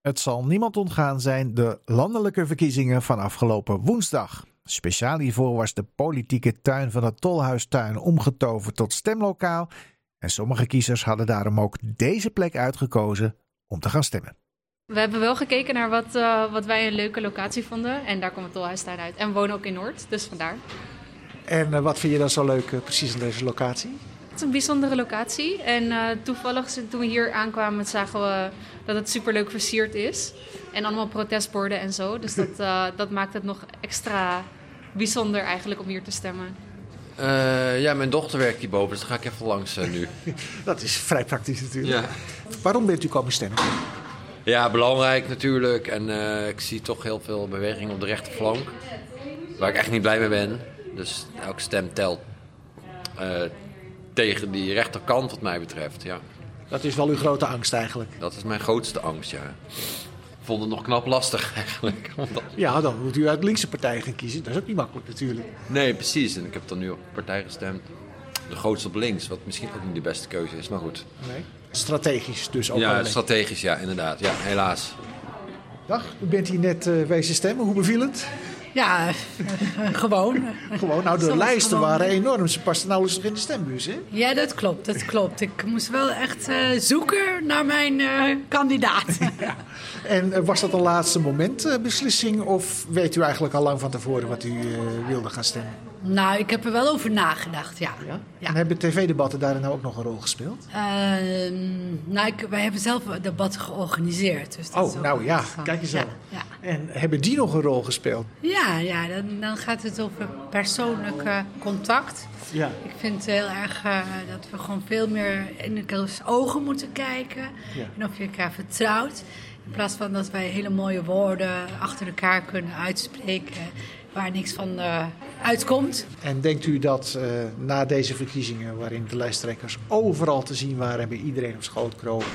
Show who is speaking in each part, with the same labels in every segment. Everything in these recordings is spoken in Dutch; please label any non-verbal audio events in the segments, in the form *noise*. Speaker 1: Het zal niemand ontgaan zijn de landelijke verkiezingen van afgelopen woensdag. Speciaal hiervoor was de politieke tuin van het Tolhuistuin omgetoverd tot stemlokaal. En sommige kiezers hadden daarom ook deze plek uitgekozen om te gaan stemmen.
Speaker 2: We hebben wel gekeken naar wat, eh, wat wij een leuke locatie vonden. En daar kwam het Tolhuistuin uit. En we wonen ook in Noord, dus vandaar.
Speaker 3: En eh, wat vind je dan zo leuk eh, precies aan deze locatie?
Speaker 2: Het is een bijzondere locatie. En eh, toevallig z- toen we hier aankwamen zagen we dat het superleuk versierd is. En allemaal protestborden en zo. Dus dat, eh, dat maakt het nog extra bijzonder eigenlijk om hier te stemmen.
Speaker 4: Eh, ja, mijn dochter werkt hierboven, dus daar ga ik even langs eh, nu.
Speaker 3: Dat is vrij praktisch natuurlijk.
Speaker 4: *laughs* Ja.
Speaker 3: Waarom bent u komen stemmen?
Speaker 4: ja, belangrijk natuurlijk. En eh, ik zie toch heel veel beweging op de rechterflank. Waar ik echt niet blij mee ben. Dus elke stem telt eh, tegen die rechterkant wat mij betreft. Ja.
Speaker 3: Dat is wel uw grote angst eigenlijk.
Speaker 4: Dat is mijn grootste angst, ja. Ik vond het nog knap lastig *laughs* eigenlijk. want dat-
Speaker 3: Ja, dan moet u uit linkse partijen gaan kiezen. Dat is ook niet makkelijk natuurlijk.
Speaker 4: Nee, precies. En ik heb dan nu op partij gestemd. De grootste op links, wat misschien ook niet de beste keuze is, maar goed.
Speaker 3: Nee. Strategisch dus ook. wel
Speaker 4: Ja,
Speaker 3: een beetje.
Speaker 4: strategisch, ja, inderdaad. Ja, helaas.
Speaker 3: Dag, u bent hier net eh wezen stemmen. Hoe beviel het?
Speaker 5: Ja, *laughs* eh, eh, gewoon.
Speaker 3: Gewoon, nou de
Speaker 5: Zoals
Speaker 3: lijsten
Speaker 5: gewoon.
Speaker 3: waren enorm. Ze pasten nauwelijks nog in de stembus, hè?
Speaker 5: Ja, dat klopt, dat klopt. Ik moest wel echt eh, zoeken naar mijn eh, kandidaat. *laughs*
Speaker 3: En eh, was dat een laatste moment eh, beslissing? Of weet u eigenlijk al lang van tevoren wat u eh, wilde gaan stemmen?
Speaker 5: nou, ik heb er wel over nagedacht, ja.
Speaker 3: Ja?
Speaker 5: Ja.
Speaker 3: En hebben tv-debatten daarin nou ook nog een rol gespeeld?
Speaker 5: Ehm, nou, ik, wij hebben zelf debatten georganiseerd. Dus dat is
Speaker 3: Oh,
Speaker 5: ook
Speaker 3: nou ja,
Speaker 5: interessant.
Speaker 3: kijk eens
Speaker 5: Ja,
Speaker 3: aan.
Speaker 5: ja.
Speaker 3: En hebben die nog een rol gespeeld?
Speaker 5: Ja, ja dan, dan gaat het over persoonlijk eh, contact.
Speaker 3: Ja.
Speaker 5: Ik vind heel erg eh, dat we gewoon veel meer in elkaars ogen moeten kijken.
Speaker 3: Ja.
Speaker 5: En of je elkaar vertrouwt. In plaats van dat wij hele mooie woorden achter elkaar kunnen uitspreken waar niks van eh, uitkomt.
Speaker 3: En denkt u dat eh, na deze verkiezingen, waarin de lijsttrekkers overal te zien waren en bij iedereen op schoot kropen,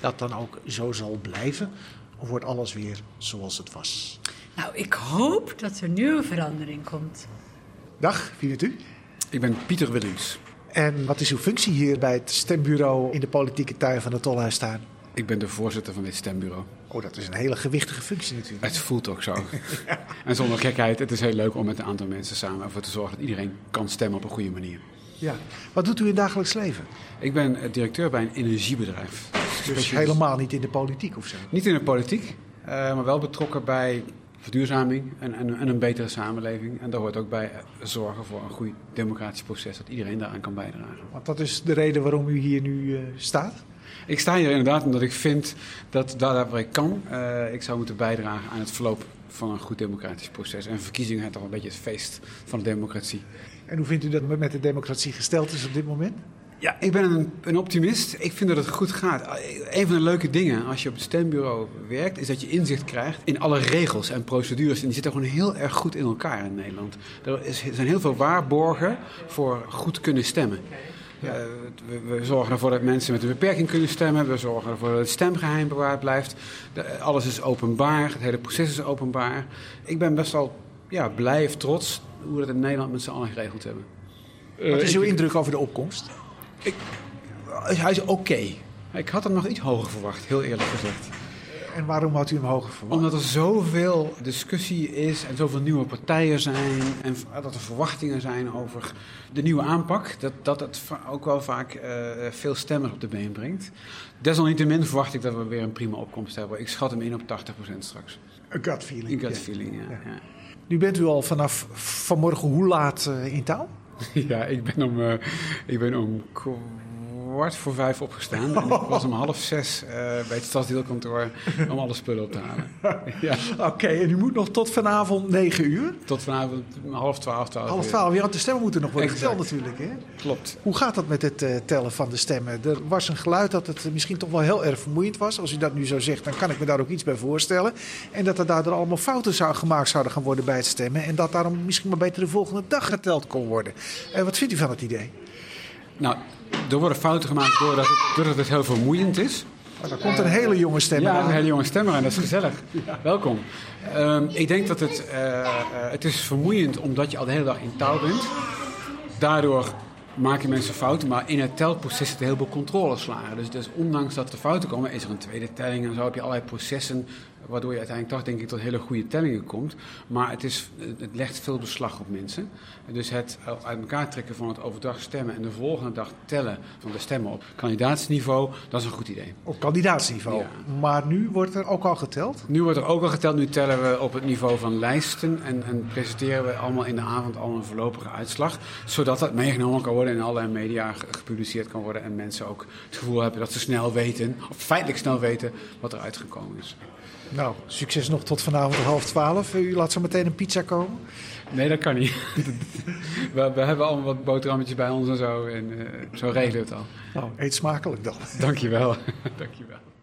Speaker 3: dat dan ook zo zal blijven? Of wordt alles weer zoals het was?
Speaker 5: Nou, ik hoop dat er nu een verandering komt.
Speaker 3: Dag, wie bent u?
Speaker 6: Ik ben Pieter Willings.
Speaker 3: En wat is uw functie hier bij het stembureau in de politieke tuin van het Tolhuistuin?
Speaker 6: Ik ben de voorzitter van dit stembureau.
Speaker 3: Oh, dat is een hele gewichtige functie natuurlijk.
Speaker 6: Het voelt ook zo. En zonder gekheid, het is heel leuk om met een aantal mensen samen ervoor te zorgen dat iedereen kan stemmen op een goede manier.
Speaker 3: Ja. Wat doet u in het dagelijks leven?
Speaker 6: Ik ben eh, directeur bij een energiebedrijf.
Speaker 3: Dus
Speaker 6: Specialist-
Speaker 3: helemaal niet in de politiek of zo?
Speaker 6: Niet in de politiek, eh, maar wel betrokken bij verduurzaming en, en, en een betere samenleving. En daar hoort ook bij eh, zorgen voor een goed democratisch proces, dat iedereen daaraan kan bijdragen.
Speaker 3: Want dat is de reden waarom u hier nu eh, staat?
Speaker 6: Ik sta hier inderdaad omdat ik vind dat daar waar ik kan, eh, ik zou moeten bijdragen aan het verloop van een goed democratisch proces. En verkiezingen zijn toch een beetje het feest van de democratie.
Speaker 3: En hoe vindt u dat het met de democratie gesteld is op dit moment?
Speaker 6: Ja, ik ben een, een optimist. Ik vind dat het goed gaat. Een van de leuke dingen als je op het stembureau werkt, is dat je inzicht krijgt in alle regels en procedures. En die zitten gewoon heel erg goed in elkaar in Nederland. Er is- er zijn heel veel waarborgen voor goed kunnen stemmen. Eh, we, we zorgen ervoor dat mensen met een beperking kunnen stemmen. We zorgen ervoor dat het stemgeheim bewaard blijft. De- alles is openbaar. Het hele proces is openbaar. Ik ben best wel ja, blij of trots hoe we dat in Nederland met z'n allen geregeld hebben.
Speaker 3: Wat is uw indruk over de opkomst?
Speaker 6: Hij is oké. Ik had hem nog iets hoger verwacht, heel eerlijk gezegd.
Speaker 3: En waarom had u hem hoger verwacht?
Speaker 6: Omdat er zoveel discussie is en zoveel nieuwe partijen zijn. En v- dat er verwachtingen zijn over de nieuwe aanpak. Dat dat het va- ook wel vaak eh, veel stemmers op de been brengt. Desalniettemin verwacht ik dat we weer een prima opkomst hebben. Ik schat hem in op 80% straks.
Speaker 3: A gut feeling.
Speaker 6: Ik had
Speaker 3: ja.
Speaker 6: feeling, ja. ja.
Speaker 3: Nu bent u al vanaf vanmorgen hoe laat eh, in touw?
Speaker 6: *laughs* Ja, ik ben om, eh, ik ben om kwart voor vijf opgestaan. En ik was om half zes eh, bij het stadsdeelkantoor om alle spullen op te halen. Ja,
Speaker 3: Oké, en u moet nog tot vanavond 9 uur.
Speaker 6: tot vanavond om half twaalf, twaalf.
Speaker 3: Half
Speaker 6: uur.
Speaker 3: 12, ja, want de stemmen moeten nog worden
Speaker 6: Exact.
Speaker 3: geteld natuurlijk. Hè?
Speaker 6: Klopt.
Speaker 3: Hoe gaat dat met het eh, tellen van de stemmen? Er was een geluid dat het eh, misschien toch wel heel erg vermoeiend was. Als u dat nu zo zegt, dan kan ik me daar ook iets bij voorstellen. En dat er daardoor allemaal fouten zou, gemaakt zouden gaan worden bij het stemmen. En dat daarom misschien maar beter de volgende dag geteld kon worden. Eh, wat vindt u van het idee?
Speaker 6: Nou, er worden fouten gemaakt doordat het, doordat het heel vermoeiend is.
Speaker 3: Oh, daar komt een hele jonge stem
Speaker 6: Ja,
Speaker 3: aan.
Speaker 6: een hele jonge stemmer en dat is gezellig. Welkom. Ehm, ik denk dat het, eh, eh, het is vermoeiend omdat je al de hele dag in touw bent. Daardoor maken mensen fouten, maar in het telproces zitten heel veel controleslagen. Dus, dus ondanks dat er fouten komen, is er een tweede telling en zo heb je allerlei processen. Waardoor je uiteindelijk toch denk ik tot hele goede tellingen komt. Maar het, is, het legt veel beslag op mensen. Dus het uit elkaar trekken van het overdag stemmen en de volgende dag tellen van de stemmen op kandidaatsniveau, dat is een goed idee.
Speaker 3: Op kandidaatsniveau.
Speaker 6: Ja.
Speaker 3: Maar nu wordt er ook al geteld.
Speaker 6: Nu wordt er ook al geteld, nu tellen we op het niveau van lijsten en, en presenteren we allemaal in de avond al een voorlopige uitslag. Zodat dat meegenomen kan worden en in allerlei media ge- gepubliceerd kan worden en mensen ook het gevoel hebben dat ze snel weten, of feitelijk snel weten, wat er uitgekomen is.
Speaker 3: Nou, succes nog tot vanavond om half twaalf. U laat zo meteen een pizza komen.
Speaker 6: Nee, dat kan niet. *laughs* we, we hebben allemaal wat boterhammetjes bij ons en zo en eh, zo regelen we het al.
Speaker 3: Nou, eet smakelijk dan.
Speaker 6: *laughs* Dankjewel. Dankjewel.